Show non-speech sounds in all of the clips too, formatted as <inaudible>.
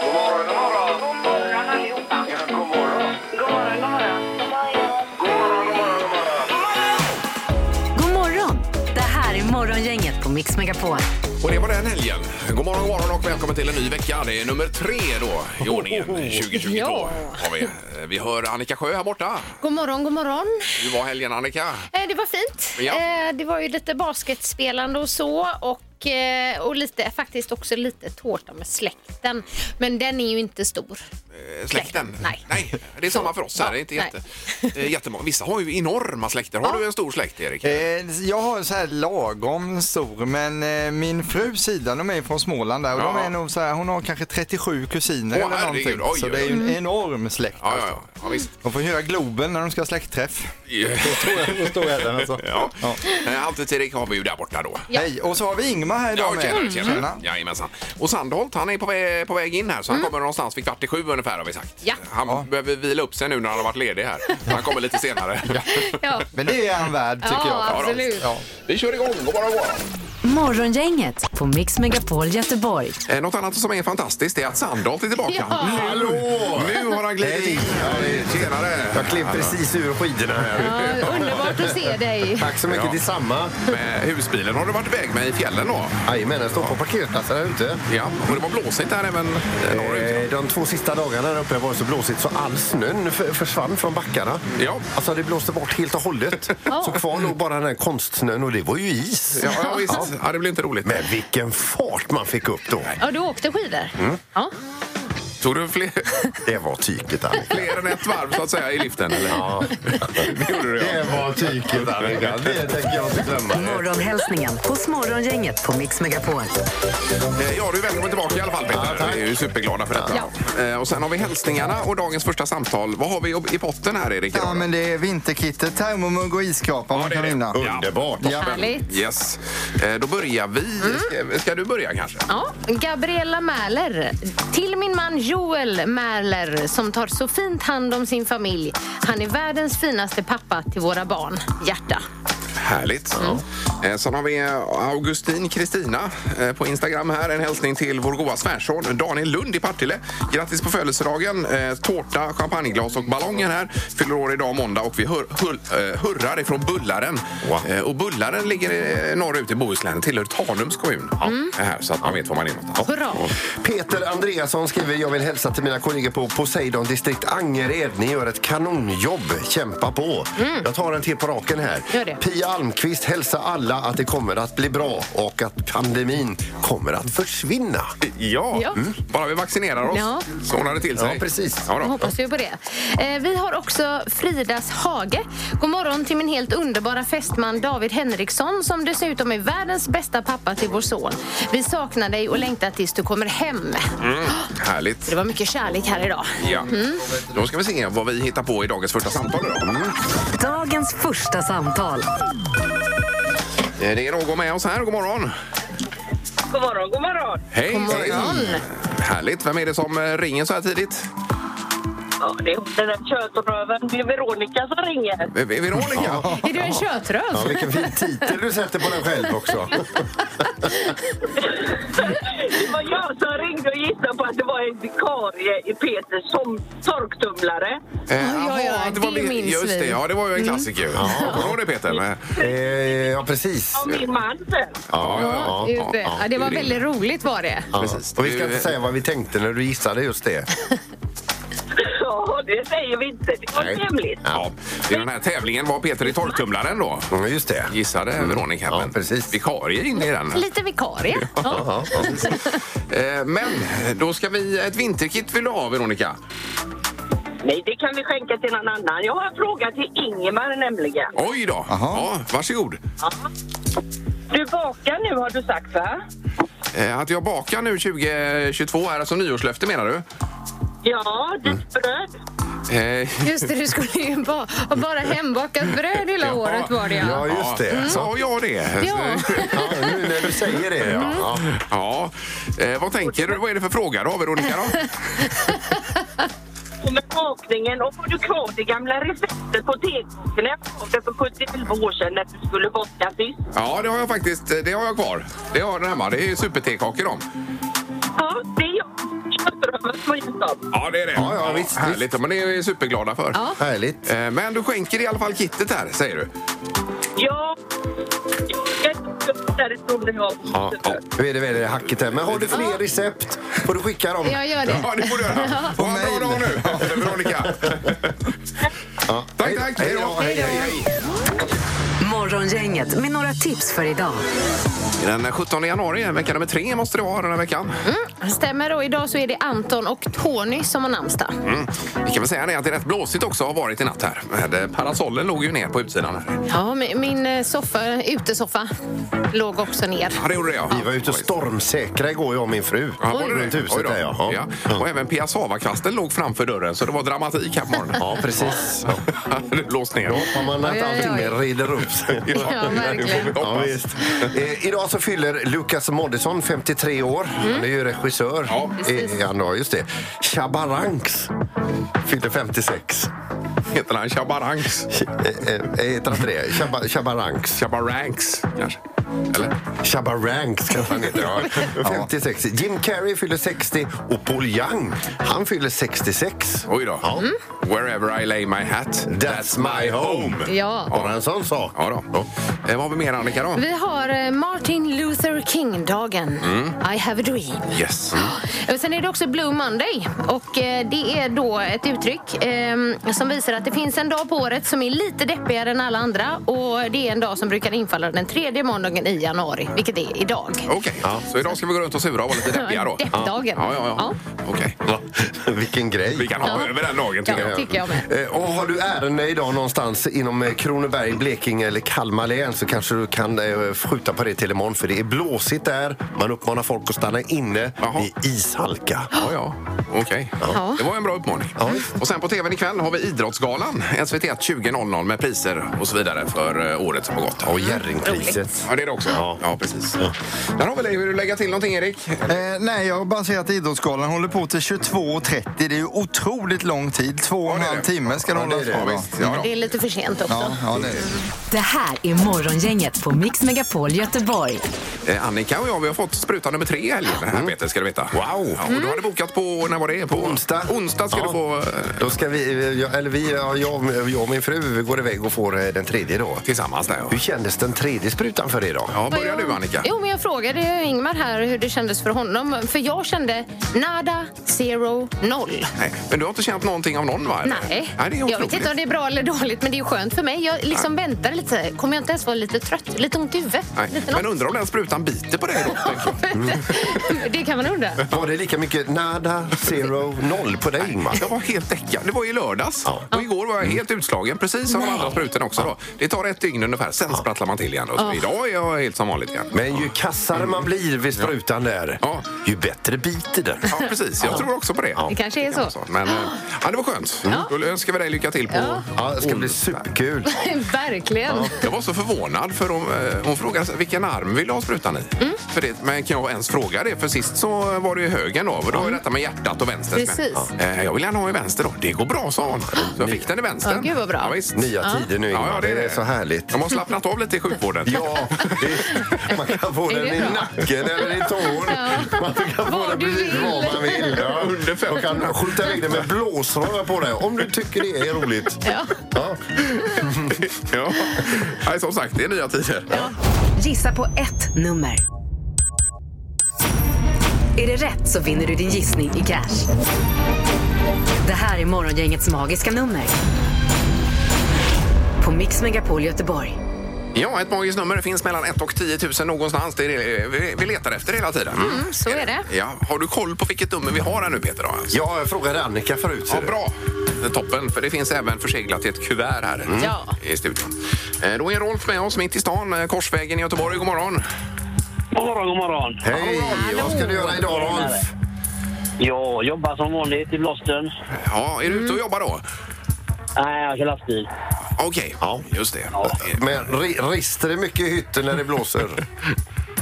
God morgon, god morgon. God morgon allihopa. Ja, god morgon. God morgon, god morgon. God morgon, god morgon, god morgon. God morgon! Det här är Morgongänget på Mix Megapol. Och det var den helgen. God morgon, god morgon och välkommen till en ny vecka. Det är nummer tre då i ordningen 2022. Ja. Har vi. Eh, vi hör Annika Sjö här borta. God morgon, god morgon. Hur var helgen Annika? Eh, Det var fint. Ja. Eh, Det var ju lite basketspelande och så. Och, eh, och lite, faktiskt också lite tårta med släkten. Men den är ju inte <laughs> stor. Eh, Släkten? Nej. det är samma för oss här. Det är inte jätte, eh, jättemånga. Vissa har ju enorma släkter. Har du en stor släkt Erik? Eh, Jag har en så här lagom stor, men eh, min fru sida, de är från Småland där och de Ja. är nog så här, hon har kanske 37 kusiner Åh, eller herregud. någonting. Oj, så oj, det är ju en enorm släkt. Ja, ja, alltså. ja. ja <laughs> visst. De får hyra Globen när de ska ha släktträff. Då står jag där alltså. Ja. Ja. Eh, Alltid Erik har vi ju där borta då. <laughs> Hej, och så har vi Ingmar här idag Ja, tjena, tjena. Mm. Mm. Jajamensan. Och Sandholt, han är på väg, på väg in här så han kommer någonstans vid kvart i sju ungefär har vi sagt. Mm. Ja. Han Ja. behöver vila upp sig nu när han har varit ledig <laughs> här. Han kommer lite senare. Ja, Men det är han värd tycker jag. ja absolut. Ja. Vi kör igång. God morgon, god morgon. Morgongänget på Mix Megapol Göteborg. <laughs> Eh, Något annat som är fantastiskt är att Sandholt är tillbaka. Hallå! Nu har han glidit in. Tjenare! Jag klev precis ur skidorna här. Ja, underbart att se dig. Tack så mycket, Ja. detsamma. Med husbilen har du varit iväg med i fjällen då? Jajamän, jag står på parkeringsplatsen här ute. Ja, och det var blåsigt där även eh, norrut. Eh, De två sista dagarna där uppe var det så blåsigt så all snön f- försvann från backarna. Ja. Alltså det blåste bort helt och <laughs> hållet. Så kvar låg bara den här konstsnön och det var ju is. Ja, ja visst. Ja, det blev inte roligt. Men vilken fart man fick upp då. Ja, du åkte skidor? Ja. Tog du fler, Det var tyket Annika. fler än ett varv så att säga i liften? Eller? Ja. Det gjorde du ja. var tyket Annika. Det tänker jag inte glömma. Morgonhälsningen hos Morgongänget på Mix Megapol. Eh, Ja, du är välkommen tillbaka i alla fall Peter. tack. vi är ju superglada för detta. Eh, Och sen har vi hälsningarna och dagens första samtal. Vad har vi i potten här Erik? idag ja, då? men det är vinterkittet, termomugg och iskrapa man det kan är det. vinna. Underbart. Ja. Mm. Härligt. Yes. Eh, Då börjar vi. Ska, ska du börja kanske? Ja, Gabriella Mäler. Till min man Joel Mäler som tar så fint hand om sin familj. Han är världens finaste pappa till våra barn. Hjärta. Härligt. Mm. Eh, Sen har vi eh, Augustin Kristina eh, på Instagram här. En hälsning till vår goa svärson Daniel Lund i Partille. Grattis på födelsedagen. Eh, Tårta, champagneglas och ballonger här. Fyller år idag måndag och vi hur, hur, eh, hurrar ifrån Bullaren. Wow. Eh, Och Bullaren ligger eh, norrut i Bohuslän, tillhör Tanums kommun. Eh, Här, så att man vet var man är någonstans. Hurra! Peter Andreasson skriver jag vill hälsa till mina kollegor på Poseidon distrikt Angered. Ni gör ett kanonjobb. Kämpa på. Jag tar en till på raken här. Mm. Gör det. Pia Almqvist hälsa alla att det kommer att bli bra och att pandemin kommer att försvinna. Ja, Ja. Mm. bara vi vaccinerar oss Ja. så ordnar det till sig. Ja, precis. Ja, Jag då. hoppas ju på det. Eh, vi har också Fridas Hage. God morgon till min helt underbara fästman David Henriksson som dessutom är världens bästa pappa till vår son. Vi saknar dig och längtar tills du kommer hem. Mm. Härligt. Det Mm. var mycket kärlek här idag. Ja. Då ska vi se vad vi hittar på i dagens första samtal. Då. Mm. Dagens första samtal. Eh, Det är någon med oss här. God morgon. God morgon, god morgon. Hej! Hej. Härligt. Vem är det som eh, ringer så här tidigt? Ja, det är den där kötoröven. Det är Veronica som ringer. Eh, Veronica? Är du en kötröv? Ja, vilken fin titel du sätter på den <laughs> själv också. Det var jag som ringde och gissade på att det var en vikarie i Peters som torktumlare. Eh, ja, aha, ja, var det min- minns Just det, vi. ja, det var ju en klassiker. Ja, Kommer du ihåg det Peter? Ja, Eh, ja, precis. Av min man sen. Ja, ja, ja, Just det. ja, Ja, det var väldigt roligt var det. ja. precis. Och vi ska inte säga vad vi tänkte när du gissade <laughs> just det. Ja, det säger vi inte. Det var Nej. hemligt. Ja. I den här tävlingen var Peter i torktumlaren då. Mm, Just det. Gissade Veronica. Ja, men precis. Vikarie inne i den. Lite vikarie. Ja. Ja, ja. Eh, Men då ska vi... Ett vinterkit vill du ha Veronica? Nej, det kan vi skänka till någon annan. Jag har en fråga till Ingemar nämligen. Oj då! Ja, varsågod. Du bakar nu har du sagt va? Eh, Att jag bakar nu 2022 här, alltså nyårslöfte menar du? Ja, ditt bröd. Eh, Just det, du skulle ju bara, ha bara hembakat bröd hela året var det ja. ja just det. Sa jag det? Ja. Ja, nu när du säger det, Mm. ja. ja. Ja, eh, vad tänker du? Vad är det för fråga då, Veronica? Då? Och med bakningen och får du kvar det gamla receptet på tekocken jag gav dig för 75 år sedan när du skulle baka sist? Ja, det har jag faktiskt. Det har jag kvar. Det har jag hemma. Det är supertekakor de. Ja, det är jag. får hjälp av. Ja, det är det. Ja, ja, visst, Härligt. Men det är vi superglada för. Ja. Härligt. Eh, Men du skänker i alla fall kittet här, säger du? Ja, jag är därifrån där jag Ja, ja. Nu är det väl hacket här. Men har du fler recept får du skicka dem. Jag gör det. Ja, det får du göra. Ha en mail. bra dag nu, <laughs> Veronica. Tack, tack. Hej då. Hej, hej, hej. Morgongänget med några tips för idag. Den 17 januari, vecka nummer tre måste det vara den här veckan. Stämmer och idag så är det Anton och Tony som har namnsdag. Mm. Vi kan väl säga det att det är rätt blåsigt också har varit i natt här. Men, eh, Parasollen låg ju ner på utsidan här. Ja, min min eh, soffa, utesoffa låg också ner. Ja, det gjorde det ja. Vi var ute och stormsäkra igår jag och min fru. Ja, var det Runt det? Oj huset då. där ja. ja. Och även piassavakvasten låg framför dörren så det var dramatik här på morgonen. Ja, precis. <laughs> det blåst ner. Hoppar man att Oj, oj, allting oj. rider upp sig. Ja, verkligen. Ja, visst. Eh, idag så fyller Lukas Moodysson 53 år. Han är ju regissör. Mm. Ja, precis. eh, han har just det. Chabarangs fyller 56. Heter han Chabarangs? Eh, eh, heter han inte det? Chaba- Chabarangs. Chabarangs kanske? Eller? Chabarangs kanske han heter. <laughs> Ja. 56. Jim Carrey fyller 60 och Paul Young, han fyller 66. Oj då. Mm. Wherever I lay my hat, that's my home. Ja. Bara en sån sak. Ja då. Eh, vad har vi mer Annika då? Vi har eh, Martin Luther King-dagen. Mm. I have a dream. Yes. Mm. Och Sen är det också Blue Monday. Och eh, Det är då ett uttryck eh, som visar att det finns en dag på året som är lite deppigare än alla andra. Och Det är en dag som brukar infalla den tredje måndagen i januari, vilket är idag. Okej, så idag ska vi gå runt och sura och vara lite deppiga då? Deppdagen. Ja, ja, ja. Okej. <laughs> Vilken grej. Vi kan ha Ja. över den dagen tycker Ja, jag. tycker jag med. Eh, Och har du ärende idag någonstans inom eh, Kronoberg, Blekinge eller Kalmar län så kanske du kan eh, skjuta på det till imorgon för det är blåsigt där. Man uppmanar folk att stanna inne. Jaha. Det är ishalka. Ja, ja. Okej. Ja. Det var en bra uppmaning. Och sen på tvn ikväll har vi Idrottsgalan, SVT 20.00 med priser och så vidare för eh, året som har gått. Och Jerringpriset. Ja, det är det också. Ja, precis. Där har vi dig. Vill du lägga till någonting, Erik? Eh, nej, jag har bara sett att Idrottsgalan håller på till 22.30. Det är ju otroligt lång tid. Två och en det är halv det. timme ska det Ja, det är hållas det. på. va? Visst, ja, Det då. är lite för sent också. Ja, ja, det är det. Det här är Morgongänget på Mix Megapol Göteborg. Eh, Annika och jag vi har fått spruta nummer tre i helgen, här, Peter. Ska du veta. Wow! Ja, och du hade bokat på, när var det? På Onsdag. Onsdag ska Ja. du få eh, Då ska vi, eh, jag- eller vi, ja, jag, jag och min fru vi går iväg och får eh, den tredje då. tillsammans där. Hur Ja. kändes den tredje sprutan för er då? Ja, Vad börja jag- du, Annika. Jo, men jag frågade ju Ingmar här hur det kändes för honom. För jag kände nada, zero, noll. Nej, men du har inte känt någonting av någon, va? eller? Nej, Nej det är jag vet inte om det är bra eller dåligt, men det är ju skönt för mig. Jag liksom väntar lite. Kommer jag inte ens vara lite trött? Lite ont i huvudet? Nej. Lite Men något. undrar om den sprutan biter på dig då? tänker jag. <laughs> det kan man undra. <laughs> Var det lika mycket nada, zero, noll på dig Ingmar? Jag var helt däckad. Det var i lördags. Ja. Mm. Och igår var jag helt utslagen, precis som de andra sprutorna också. Då. Det tar ett dygn ungefär, sen sprattlar man till igen. Och så idag är jag helt som vanligt igen. Men ju kassare man blir vid sprutan där, Ja. ju bättre biter den. Ja, precis. Jag tror också på det. Det kanske är kan vara så. Men eh, ja, det var skönt. Då önskar vi dig lycka till på Mm. Ja, det ska bli superkul. Verkligen. Jag var så förvånad för hon, eh, hon frågade sig, vilken arm vill du ha sprutan i. Mm. För det, men kan jag ens fråga det? För sist så var det ju högen då. Och då var ju detta med hjärtat och vänster. Precis. Men, eh, Jag vill gärna ha i vänster då. Det går bra sa hon. Så jag fick den i vänster. Ja, gud, vad bra. Ja, visst. Nya tider nu, Ingmar. Ja, ja, det, är så härligt. De har slappnat av lite i sjukvården. Ja, det- man kan få Är den det i bra? nacken eller i tån. Man kan få Vad den du precis vill. var man vill. Ja. Under fem. Och kan skjuta iväg den med blåsröra på dig om du tycker det är roligt. Ja. Ja. ja. Nej, som sagt, det är nya tider. Gissa på ett nummer. Är det rätt så vinner du din gissning i cash. Det här är Morgongängets magiska nummer. På Mix Megapol Göteborg. Ja, ett magiskt nummer finns mellan 1 och 10 000 någonstans. Det är det eh, vi- vi letar efter hela tiden. Mm, så är det. Ja. Har du koll på vilket nummer vi har här nu, Peter? Då? Alltså? Jag frågade Annika förut. ser Ja, du. bra. Toppen, för det finns även förseglat i ett kuvert här Mm. Ja. i studion. Eh, Då är Rolf med oss mitt i stan, eh, Korsvägen i Göteborg. God morgon! God morgon, god morgon. Hej! Vad ska du göra idag, Rolf? Jag jobbar som vanligt i blåsten. Ja, är du Mm. ute och jobbar då? Nej, jag kör lastbil. Okej, ja. just det. Eh, Men ri- rister det mycket i hytten när det blåser?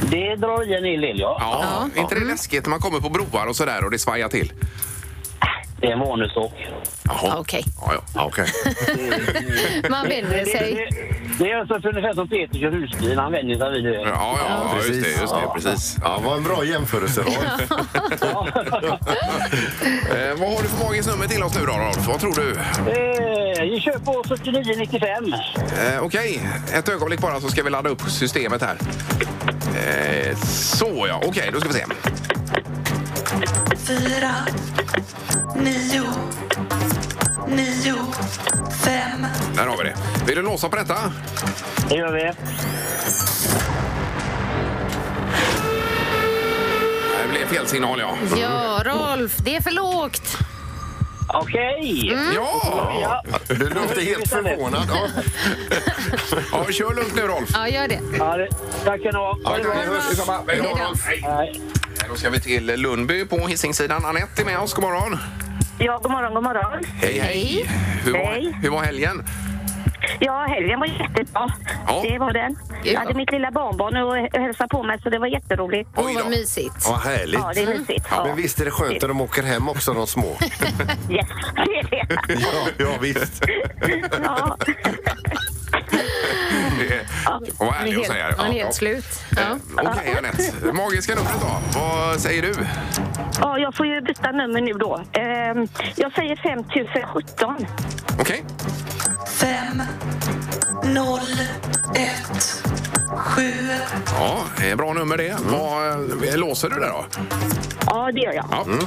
Det drar i en hel del, ja. Ja, är inte det läskigt när man kommer på broar och sådär och det svajar till? Det är en vanusåk. Jaha. Okej. Ja, ja. Okej. Man vänder sig. Det, det är alltså ungefär som Peter kör husbil. Han vänjer sig vid Ja, det. ja, ja, Precis. just det. Just det precis. Ja, vad en bra jämförelse Rolf. Eh, vad har du för magiskt nummer till oss nu då, Rolf? Vad tror du? Eh, vi kör på 49,95. Eh, Okej, ett ögonblick bara så ska vi ladda upp systemet här. Eh, så ja, okej, då ska vi se. fyra, nio, nio, fem, Där har vi det. Vill du låsa på detta? Det gör vi. Det blev fel signal, ja. Ja, Rolf, det är för lågt. Okej! Ja! Ja. Du låter helt förvånad. Ja. ja! Kör lugnt nu, Rolf. Ja, gör det. Ja, det, tack ska ni ha. Ha det bra. vi hörs. Detsamma. Hej då, Rolf. Hej. Nej. Då ska vi till Lundby på Hisingssidan. Anette är med oss. God morgon. Ja, god morgon, god morgon. Hej, hej. Hur var, Hej. hur var helgen? Ja, helgen var jättebra. Ja. Det var den. Jag hade mitt lilla barnbarn och hälsade på mig, så det var jätteroligt. Åh, vad mysigt. Vad härligt. Ja, det är mysigt. Ja, Men visst är det skönt när de åker hem också, de små? Yes. <laughs> det är det. Ja, ja visst. Ja. Det <laughs> var Han är ärlig att helt, säga. han är helt slut. <laughs> Ja. Eh, Okej, Anette. Magiska numret då. Vad säger du? ja, jag får ju byta nummer nu då. Ehm, Jag säger 5017. Okej. fem, noll, ett, sju, Ja, eh, bra nummer det. Vad, eh, låser du det då? Ja, det gör jag. Ja. Mm.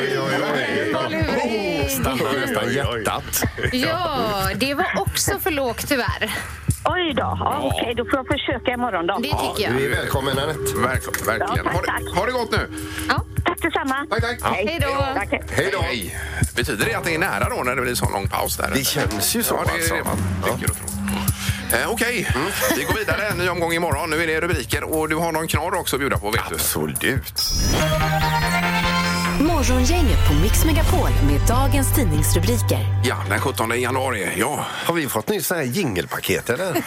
Oj, oj, oj. Vad lurigt. Stannar nästan hjärtat. Ja, det var också för lågt tyvärr. Oj då. Ja, Okej, då får jag försöka imorgon då. Det tycker jag. Du är välkommen Anette. Verk, verkligen. Ja, Ha tack, det, tack. ha det gott nu. Ja. Tack detsamma. Tack, tack. Hej då. Tack. Hej då. Hej. Betyder det att det är nära då när det blir så lång paus? Där, eller? Det känns ju så alltså. alltså. Ja, det är det man tycker och tror. Eh, Okej, Mm. vi går vidare. En ny omgång imorgon. Nu är det rubriker och du har någon knorr också att bjuda på, vet du. Absolut. Morgongänget på Mix Megapol med dagens tidningsrubriker. Ja, den 17 januari. Ja, Har vi fått nytt sån här <laughs> jingelpaket eller?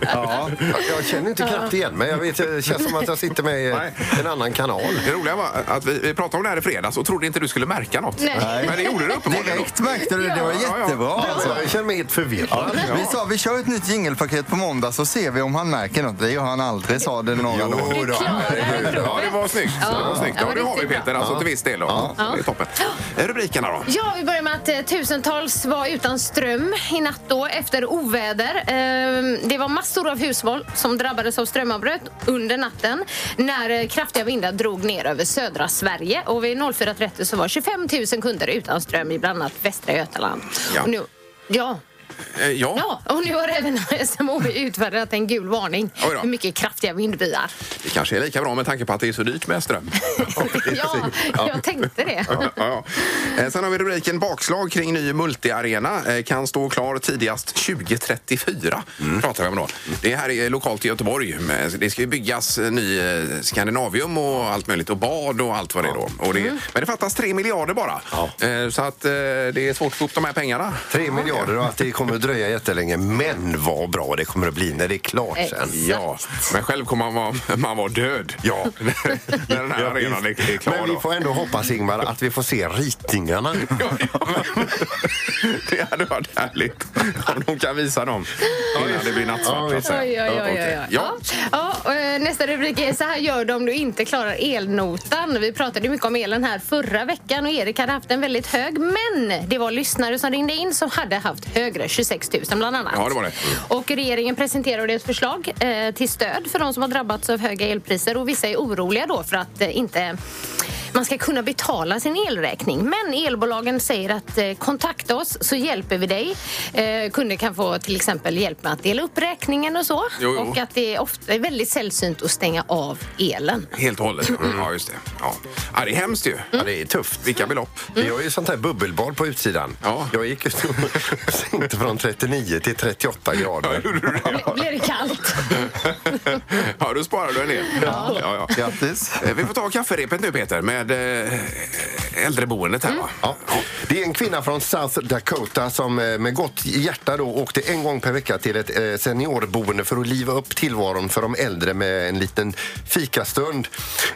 ja. Jag känner inte knappt igen mig. Jag vet, det känns som att jag sitter med i en annan kanal. det roliga var att vi, vi pratade om det här i fredags och trodde inte du skulle märka något. Nej. Men det gjorde du uppenbarligen. Direkt märkte du, det var Ja, ja. jättebra alltså. Jag känner mig helt förvirrad. Vi sa vi kör ett nytt jingelpaket på måndag så ser vi om han märker något. Det gör han aldrig, sa det några dagar. då. herregud. Ja, det var snyggt. Ja, det var snyggt. ja, Ja, det har vi riktigt Peter, alltså till viss del. Då. Det är toppen. Eh, Rubrikerna då? Ja, vi börjar med att eh, tusentals var utan ström i natt då efter oväder. Ehm, det var massor av hushåll som drabbades av strömavbrott under natten när eh, kraftiga vindar drog ner över södra Sverige. Och vid 04.30 så var 25 000 kunder utan ström i bland annat Västra Götaland. Ja. Och nu, ja, Eh, Ja, ja, och nu har även SMHI utfärdat en gul varning Oj då. för mycket kraftiga vindbyar. det kanske är lika bra med tanke på att det är så dyrt med ström. Ja, jag tänkte det. Ja, ja. Eh, Sen har vi rubriken Bakslag kring ny multiarena eh, kan stå klar tidigast 2034. Mm. Pratar vi om då. Det här är lokalt i Göteborg. Men Det ska ju byggas eh, ny eh, Skandinavium och allt möjligt och bad och allt vad det är då. Och det, Mm. Men det fattas 3 miljarder bara. Eh, Så att eh, det är svårt att få upp de här pengarna. Tre miljarder och att det kommer att dröja jättelänge. Men vad bra det kommer att bli när det är klart sen. Exakt. Ja, men själv kommer man vara, man vara död. Ja. <laughs> när den här arenan är, är klar. Men vi då. får ändå hoppas Ingmar att vi får se ritningarna. Ja, ja. Det hade varit härligt om de kan visa dem innan det blir nattsvart. så att säga. Oj, oj, oj, oj, Okej. oj. Ja. Ja. Ja, och, eh, nästa rubrik är Så här gör du om du inte klarar elnotan. Vi pratade ju mycket om elen här förra veckan och Erik hade haft en väldigt hög. Men det var lyssnare som ringde in som hade haft högre, 26 000 bland annat. Ja, det var det. Och regeringen presenterade ett förslag eh, till stöd för de som har drabbats av höga elpriser och vissa är oroliga då för att eh, inte man ska kunna betala sin elräkning. Men elbolagen säger att eh, kontakta oss så hjälper vi dig. Eh, kunder kan få till exempel hjälp med att dela upp räkningen och så. Jo, jo. Och att det är ofta är väldigt sällsynt att stänga av elen. Helt och hållet. Ja, just det. Ja. Ja, det är hemskt ju. Ja, <laughs> det är tufft. Vilka belopp. Vi har ju sånt här bubbelbad på utsidan. Ja. Jag gick ut och <laughs> sänkte från 39 till 38 grader. Blir- Blir det kallt? Ja, då sparar du en del. Ja, ja. Grattis! Eh, Vi får ta kafferepet nu Peter med med eh, äldreboendet här va? Ja. Det är en kvinna från South Dakota som eh, med gott hjärta då åkte en gång per vecka till ett eh, seniorboende för att liva upp tillvaron för de äldre med en liten fikastund.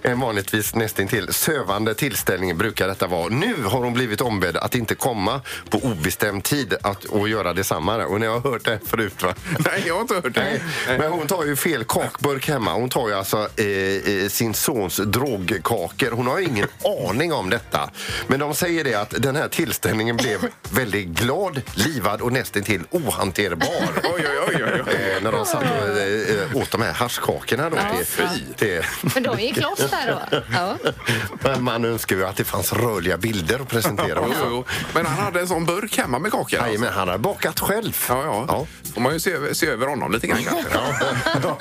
En vanligtvis nästintill sövande tillställning brukar detta vara. Nu har hon blivit ombedd att inte komma på obestämd tid att, och göra detsamma. Och ni har hört det förut va? Nej, jag har inte hört det. Nej, men hon tar ju fel kakburk hemma. Hon tar ju alltså eh, eh, sin sons drogkakor. Hon har ju ingen aning om detta. Men de säger det att den här tillställningen blev väldigt glad, livad och nästintill ohanterbar. Oj, oj, oj, oj, oj. Eh, när de satt och eh, eh, åt de här haschkakorna då. till, till, Men de gick loss där då. Ja. men man önskar ju att det fanns rörliga bilder att presentera Jo, jo, också. jo. Men han hade en sån burk hemma med kakor. alltså. Nej, men han har bakat själv. Ja, ja. Får man ju se över, se över honom lite grann kanske. Ja. Också då.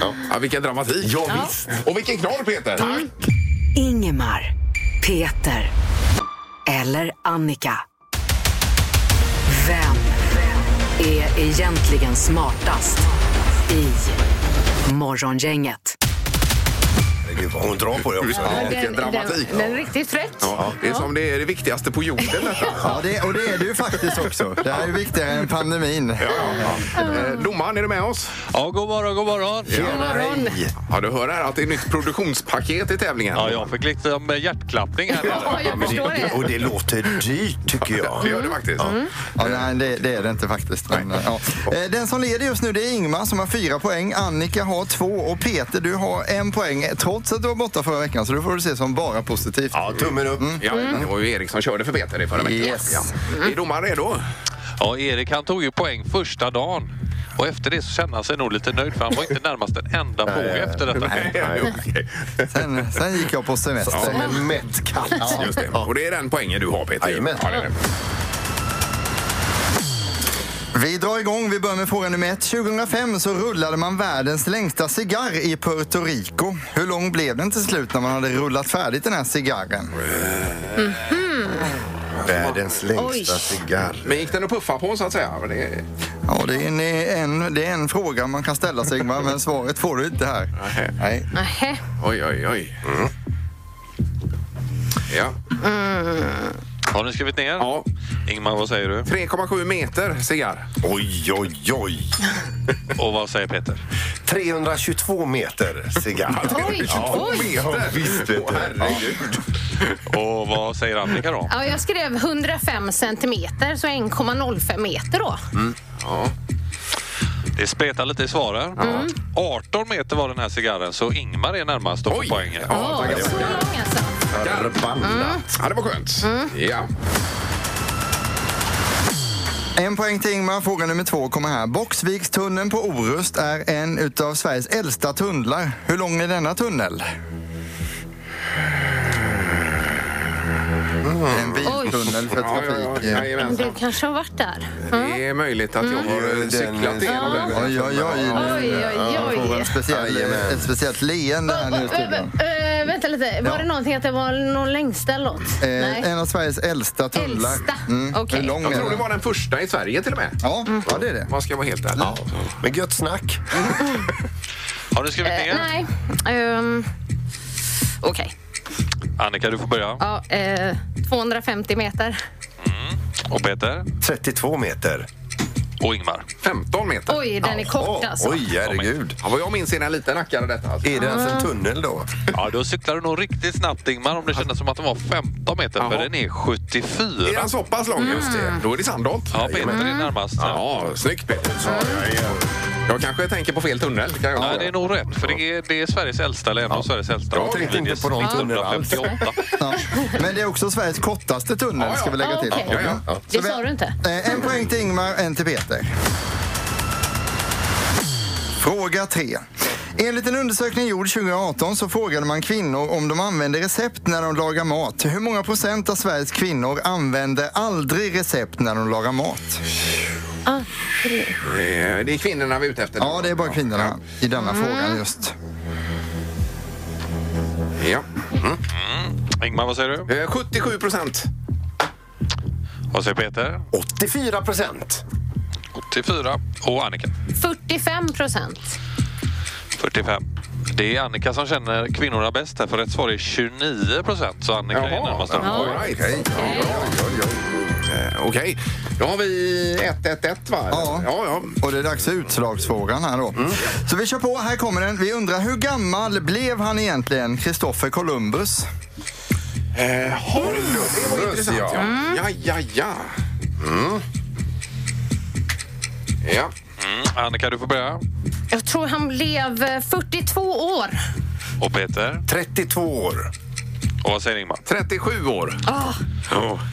Ja. Ja, vilken dramatik. Ja, visst. Och vilken knorr, Peter. Ingemar, Peter eller Annika. Vem är egentligen smartast i Morgongänget? Herregud, vad hon drar på det också. Ja, vilken Den, dramatik. den, den är riktigt trött. Ja, det är som det är det viktigaste på jorden detta. Ja, det, och det är det ju faktiskt också. Det här är ju viktigare än pandemin. Eh, Domaren, är du med oss? Ja, god morgon, god morgon. God morgon. Ja, du hör här att det är nytt produktionspaket i tävlingen. Ja, jag fick lite om hjärtklappning här. Ja, jag förstår det. Och det låter dyrt typ tycker Det jag. gör det faktiskt. Ja, nej, det, det är det inte faktiskt. Men, ja. Eh, Den som leder just nu det är Ingmar som har fyra poäng. Annika har två och Peter du har en poäng trots att du var borta förra veckan. Så du får du se som bara positivt. Ja, tummen upp. Mm. Ja, det var ju Erik som körde för Peter i förra veckan. Yes. Ja. Är domaren redo? Ja, Erik han tog ju poäng första dagen. Och efter det så kände han sig nog lite nöjd för han var inte närmast en enda fråga efter detta. <laughs> Okej. Sen, sen gick jag på semester. Som en mätt katt. Just det. Och det är den poängen du har, Peter. Jajamän. det är det. Vi drar igång. Vi börjar med fråga nummer ett. 2005 så rullade man världens längsta cigarr i Puerto Rico. Hur lång blev den till slut när man hade rullat färdigt den här cigarren? Världens Oj. längsta cigarr. Men gick den att puffa på, så att säga? Men Det... Ja, det är en, en, det är en fråga man kan ställa sig, Ingmar, men svaret får du inte här. Nej. Nähä. Oj, oj, oj. Ja. Har ni skrivit ner? ja. Ingmar, vad säger du? 3,7 meter cigarr. Oj, oj, oj. Och vad säger Peter? 322 meter cigarr. Oj, oj. Ja, visst vet du. Ja. Och vad säger Annika då? Ja, jag skrev 105 centimeter, så 1,05 meter då. Mm. Det spretar lite i svaren. 18 meter var den här cigarren, så Ingmar är närmast och får Oj. poängen. Ja, tackar. så lång alltså. Förbannat. Ja, det var skönt. Mm. Ja. En poäng till Ingmar. Fråga nummer två kommer här. Boxvikstunneln på Orust är en utav Sveriges äldsta tunnlar. Hur lång är denna tunnel? Det är En biltunnel för Mm. Ja, ja, ja. trafik. Jajamensan. Du kanske har varit där? Det är möjligt att jag Mm. har eh, cyklat igenom den. Oj, oj, oj. Oj, oj, Jag får oj. en speciell, eh, Jajamän. ett speciellt leende här nu i studion. Äh, äh, vänta lite, var Ja. det någonting att det var någon längsta eller något? Eh, en av Sveriges äldsta tunnlar. Mm. Äldsta? Okej. Hur lång Jag är tror det den? var den första i Sverige till och med. Ja, ja, det är det. Man ska vara helt ärlig. Ja. Men gött snack. Har ni skrivit Eh, ner? nej. Ehm, Okej. Annika, du får börja. Ja, eh, 250 meter. Och Peter. 32 meter. Och Ingmar. 15 meter. Oj, den är kort Åh, alltså. Oj, herregud. Ja, vad jag minns är den en liten rackare detta. Alltså. Är det ens Ah. en tunnel då? Ja, då cyklar du nog riktigt snabbt Ingmar om det kändes som att det var 15 meter, för Jaha. den är 74. Är den så pass lång? Mm. Just det. Då är det Sandholt. Ja, Peter är närmast. Ja. Ja, snyggt Peter. Mm. Jag kanske tänker på fel tunnel. Kan jag Nej, säga. det är nog rätt, för det är, det är Sveriges äldsta, eller en av Sveriges äldsta. Jag tänkte inte på någon tunnel alls. 158. Ja. Men det är också Sveriges kortaste tunnel, Ja, ja. ska vi lägga till. Ja, okej. Ja, ja. Ja. Det Så vi- sa du inte. Eh, En poäng till Ingmar, en till Peter. Fråga tre. Enligt en undersökning gjord 2018 så frågade man kvinnor om de använder recept när de lagar mat. Hur många procent av Sveriges kvinnor använder aldrig recept när de lagar mat? Det är- Eh, det är kvinnorna vi är ute efter. Ja, det är bara kvinnorna i denna frågan just. Ja. Ingmar, vad säger du? Eh, 77 procent. Vad säger Peter? 84 procent. 84. Och Annika? 45 procent. 45. Det är Annika som känner kvinnorna bäst här, för rätt svar är 29 procent. Så Annika är närmast. där. all right. Okej. Eh, Okej, då har vi 1-1-1 va? Ja. ja, Mm. ja. Och det är dags för utslagsfrågan här då. Så vi kör på, här kommer den. Vi undrar hur gammal blev han egentligen, Kristoffer Columbus? Eh, Hornus, det var intressant. Ja, ja, ja. ja. Mm. ja. Mm, Annika, du får börja. Jag tror han blev eh, 42 år. Och Peter. 32 år. Och vad säger Ingmar? 37 år. Ja,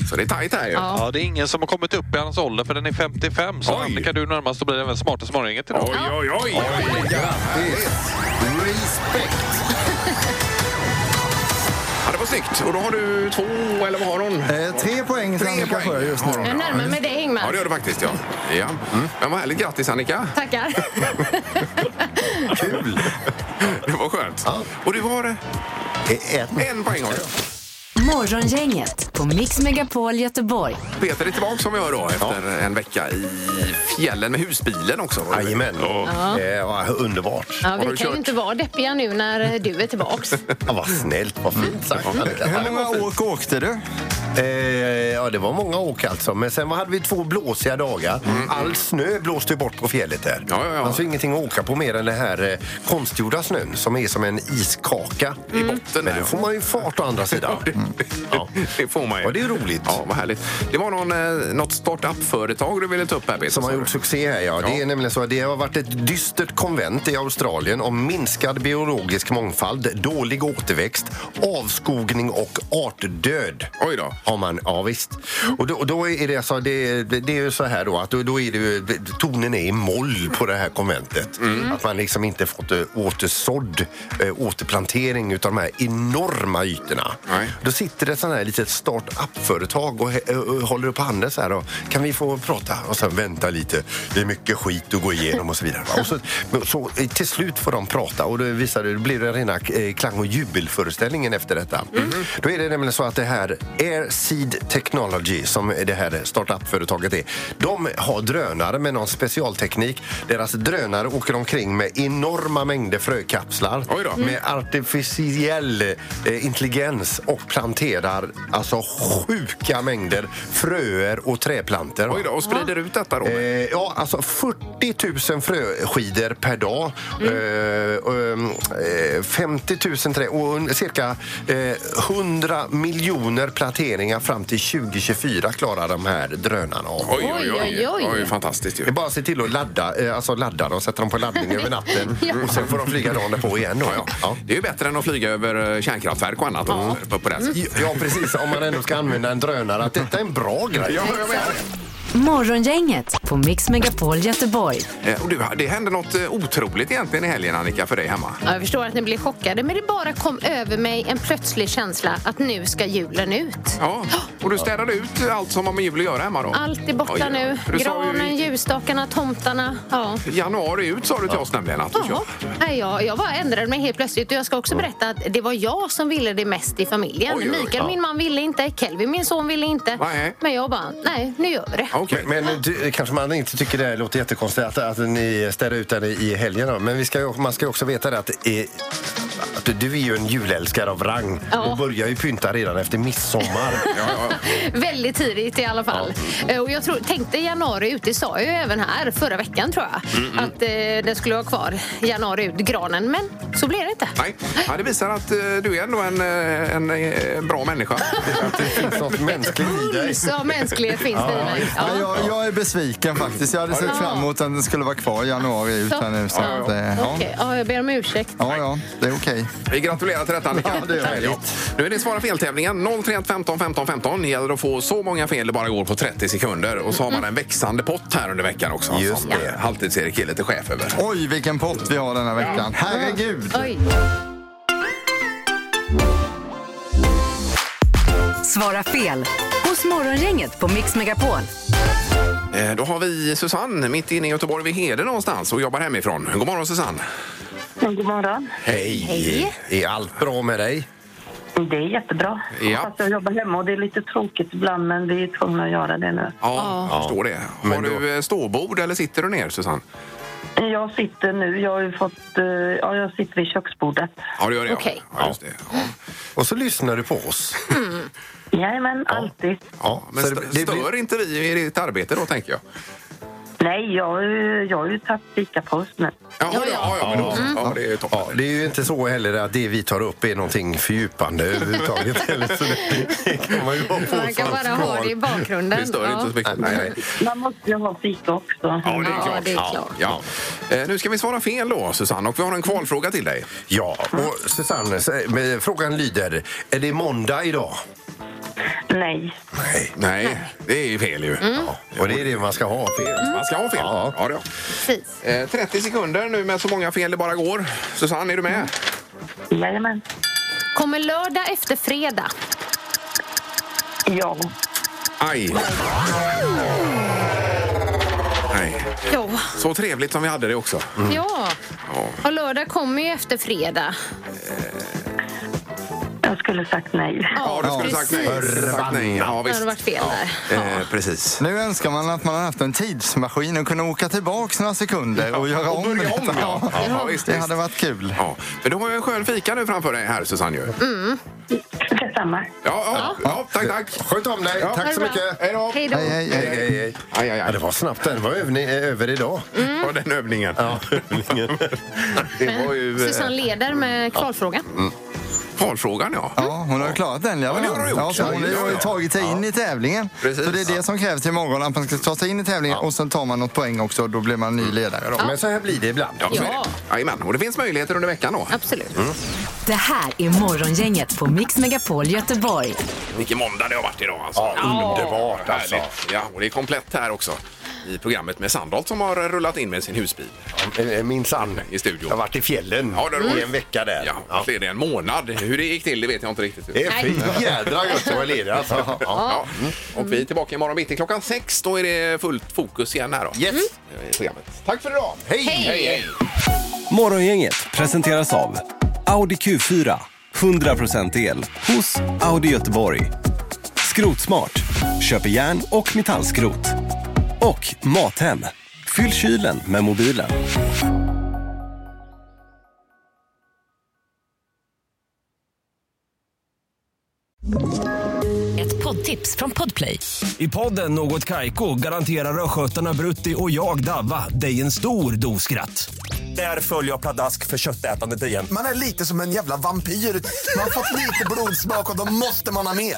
Så det är tajt här ju. Ja. Ja, det är ingen som har kommit upp i hans ålder, för den är 55. Så Oj. Annika, du är närmast och blir även smartaste morgongänget idag. Oj, oj, Ah. oj. oj. Grattis! Respekt! Ja, det var snyggt. Och då har du två, eller vad har hon? Eh, tre poäng till Tre Annika poäng Sjö just nu. har hon, Jag ja. närmar mig dig, Ja, det Ingmar. gör du faktiskt. Ja. Ja. Mm. Men vad härligt. Grattis, Annika. <laughs> Tackar. Kul! Det var skönt. Och du har Ett. en poäng har du. Morgongänget på Mix Megapol Göteborg. Peter är tillbaka som vi hör då efter en vecka i fjällen med husbilen också. var det väl? Jajamän. Eh, ja, underbart. Ja, du vi kan kört? ju inte vara deppiga nu när eh, du är tillbaks. Ja, vad snällt, vad fint sagt. Annika. Mm. Hur många åk åkte du? Eh, ja, det var många åk alltså. Men sen hade vi två blåsiga dagar. All snö blåste ju bort på fjället där. Mm. Ja, ja, ja. Alltså ingenting att åka på mer än den här eh, konstgjorda snön som är som en iskaka. I botten. Men där. då får man ju fart å <laughs> andra sidan. Ja. Det får man ju. Ja, det är roligt. Ja, vad härligt. Det var någon, eh, något startup-företag du ville ta upp här, Peter. Som har sa du. gjort succé här, ja. Det är nämligen så att det har varit ett dystert konvent i Australien om minskad biologisk mångfald, dålig återväxt, avskogning och artdöd. Oj då. Har man, ja visst. Och då, och då är det alltså, det, det det är ju så här då att då, då är det ju, tonen är i moll på det här konventet. Mm. Att man liksom inte fått eh, återsådd, eh, återplantering utav de här enorma ytorna. Nej. Då sitter det ett sånt här litet startup-företag och, eh, och håller upp handen så här och kan vi få prata? Och sen vänta lite, det är mycket skit att gå igenom och så vidare. va? Och så, men så, eh, till slut får de prata och då visar det, det blir det rena eh, klang och jubelföreställningen efter detta. Mm. Då är det nämligen så att det här Airseed Technology som det här startup-företaget är, de har drönare med någon specialteknik. Deras drönare åker omkring med enorma mängder frökapslar Oj då. Mm. med artificiell eh, intelligens och planterar alltså sjuka mängder fröer och träplanter. Oj då, och sprider ut detta då? Eh, ja, alltså 40 000 fröskidor per dag. Mm. Eh, och, ehm, Eh, 50 000 trä och un- cirka eh, 100 miljoner planteringar fram till 2024 klarar de här drönarna av. Oj, oj, oj. oj fantastiskt Det är ju. bara att se till att ladda, eh, alltså ladda dem, sätta dem på laddning <laughs> över natten och sen får de flyga dagen på igen. Då. Ja, Ja. Det är ju bättre än att flyga över eh, kärnkraftverk och annat. Ja. På, på det här. Mm. sättet. Ja, precis. Om man ändå ska använda en drönare. Att detta är en bra grej. Ja, jag menar det. Morgongänget på Mix Megapol Göteborg. Eh, Och du, det hände något eh, otroligt egentligen i helgen, Annika, för dig hemma. Ja, jag förstår att ni blir chockade, men det bara kom över mig en plötslig känsla att nu ska julen ut. Ja, och du städade ut allt som har med jul att göra hemma då? Allt är borta Oj, ja. nu. För Du sa Granen, ju ljusstakarna, tomtarna. Ja. i januari ut sa du till oss nämligen att du Jaha. kör. Nej, jag, jag bara ändrade mig helt plötsligt. Och jag ska också berätta att det var jag som ville det mest i familjen. Oj, oj, oj. Mikael, min man, ville inte. Kelvin, min son, ville inte. Nej. Men jag bara, nej, nu gör vi det. Okej. Men, men du, kanske man inte tycker det här låter jättekonstigt att, att ni städar ut den i- i helgen. Då. Men vi ska, ju- man ska ju också veta det att, eh, att du är ju en julälskare av rang Ja. och börjar ju pynta redan <laughs> efter midsommar. Väldigt tidigt i alla fall. Eh, Och jag tror, tänkte januari ut, det sa jag ju även här förra veckan tror jag. Mm, Att eh, den skulle vara kvar januari ut, granen. Men så blev det inte. Nej, ja, det visar att eh, du är ändå en, eh, en eh, bra människa. Finns något mänskligt i dig? Uns av mänsklighet finns det i mig. Ja. Ja, jag, jag är besviken faktiskt. Jag hade sett fram emot att den skulle vara kvar januari ut här nu. Så att, eh, ja. Okej, ja, jag ber om ursäkt. ja, ja, det är okej. Vi gratulerar till detta, Annika. Ja, det gör vi. Nu är det Svara fel-tävlingen. 031 15 15 15. Det gäller att få så många fel det bara går på 30 sekunder. Och så har man en växande pott här under veckan också. Just som det. eh, Halvtids-Erik är lite chef över. Oj, vilken pott vi har denna veckan. Herregud! Oj. Svara fel hos Morgongänget på Mix Megapol. Eh, Då har vi Susanne mitt inne i Göteborg vid Hede någonstans och jobbar hemifrån. God morgon Susanne! Men god morgon. Hej! Hej. Är allt bra med dig? Det är jättebra. Ja. Fast jag jobbar hemma och det är lite tråkigt ibland men vi är tvungna att göra det nu. Ja, jag förstår det. Har Men då- du eh, ståbord eller sitter du ner Susanne? Jag sitter nu, jag har ju fått, eh, ja, jag sitter vid köksbordet. Ja, det gör det. Okej. Ja. Ja, just det. Ja. Och så lyssnar du på oss. Jajamän, alltid. Ja, men Så det- st- det stör blir- inte vi i ditt arbete då, tänker jag? Nej, jag, har ju- jag har ju tagit fikapaus nu. Jaha, ja, ja, ja, men då, ja, det är toppen. Ja, det är ju inte så heller att det vi tar upp är någonting fördjupande överhuvudtaget. <laughs> heller, så det, det kan man ju ha på Man kan som bara ha skal. det i bakgrunden. Det stör inte så mycket. Nej, nej. Man måste ju ha fika också. Ja, det är Ja, klart. det är klart. Ja. Eh, Nu ska vi svara fel då, Susanne, och vi har en kvalfråga till dig. Ja, Mm. och Susanne, så- men frågan lyder, är det måndag idag? Mm. Nej. Nej. Nej, det är ju fel ju. Mm. Ja, och det är det man ska ha. Fel. Man ska ha fel. Ja. Ja, det har. Precis. Eh, 30 sekunder nu med så många fel det bara går. Susanne, är du med? Jajamän. Kommer lördag efter fredag. Ja. Aj. Nej. Jo. Så trevligt som vi hade det också. Ja. Och lördag kommer ju efter fredag. Jag skulle sagt nej. Ja, du skulle sagt nej. precis. Sagt nej. Ja, Det hade visst. varit fel där. Eh, precis. Nu önskar man att man hade haft en tidsmaskin och kunde åka tillbaks några sekunder och göra om börja om, detta. ja. Ja, visst, Det visst. hade varit kul. Ja, men du har ju en skön fika nu framför dig här, Susanne. Ju. Ja, Mm. Detsamma. ja, ja, tack, tack. Sköt om dig. Ja. Tack så Ha det bra. mycket. Hej då. Hej då. Hej, hej, Hej, hej. hej, hej. Aj, aj, Ja, aj. det var snabbt. Den var övning, över idag. Ja, den övningen. <laughs> Det var ju eh, Susanne leder med kvalfrågan. kvalfrågan, ja. Ja, hon har klarat den. Ja, det har hon gjort. Ja, så hon Ja, ja, har ju ja. tagit sig in i tävlingen. Precis. Så det är det som krävs imorgon, att man ska ta sig in i tävlingen och sen tar man något poäng också och då blir man ny ledare. Då. Men så här blir det ibland. Ja, så är det. Ja. Jajamän, och det finns möjligheter under veckan då. Mm. Absolut. Det här är Morgongänget på Mix Megapol Göteborg. Vilken måndag det har varit idag alltså. Ja, underbart, alltså. Härligt. Ja, och det är komplett här också i programmet med Sandholt som har rullat in med sin husbil. Eh, Min sann. I studion. Jag har varit i fjällen Ja, det har du. i en vecka där. Ja, ja. det är det en månad. Hur det gick till det vet jag inte riktigt. Det är fint jädra gött att vara ledig alltså. Ja. Mm. Och vi är tillbaka imorgon bitti klockan sex. Då är det fullt fokus igen här då. Mm. Yes. I programmet. Tack för idag. Hej! hej, hej. Morgongänget presenteras av Audi Q4. 100% el hos Audi Göteborg. Skrotsmart. Köper järn och metallskrot. Och Mathem. Fyll kylen med mobilen. Ett poddtips från Podplay. I podden Något Kaiko garanterar östgötarna Brutti och jag, Davva, dig en stor dos skratt. Där följer jag pladask för köttätandet igen. Man är lite som en jävla vampyr. Man har fått lite blodsmak och då måste man ha mer.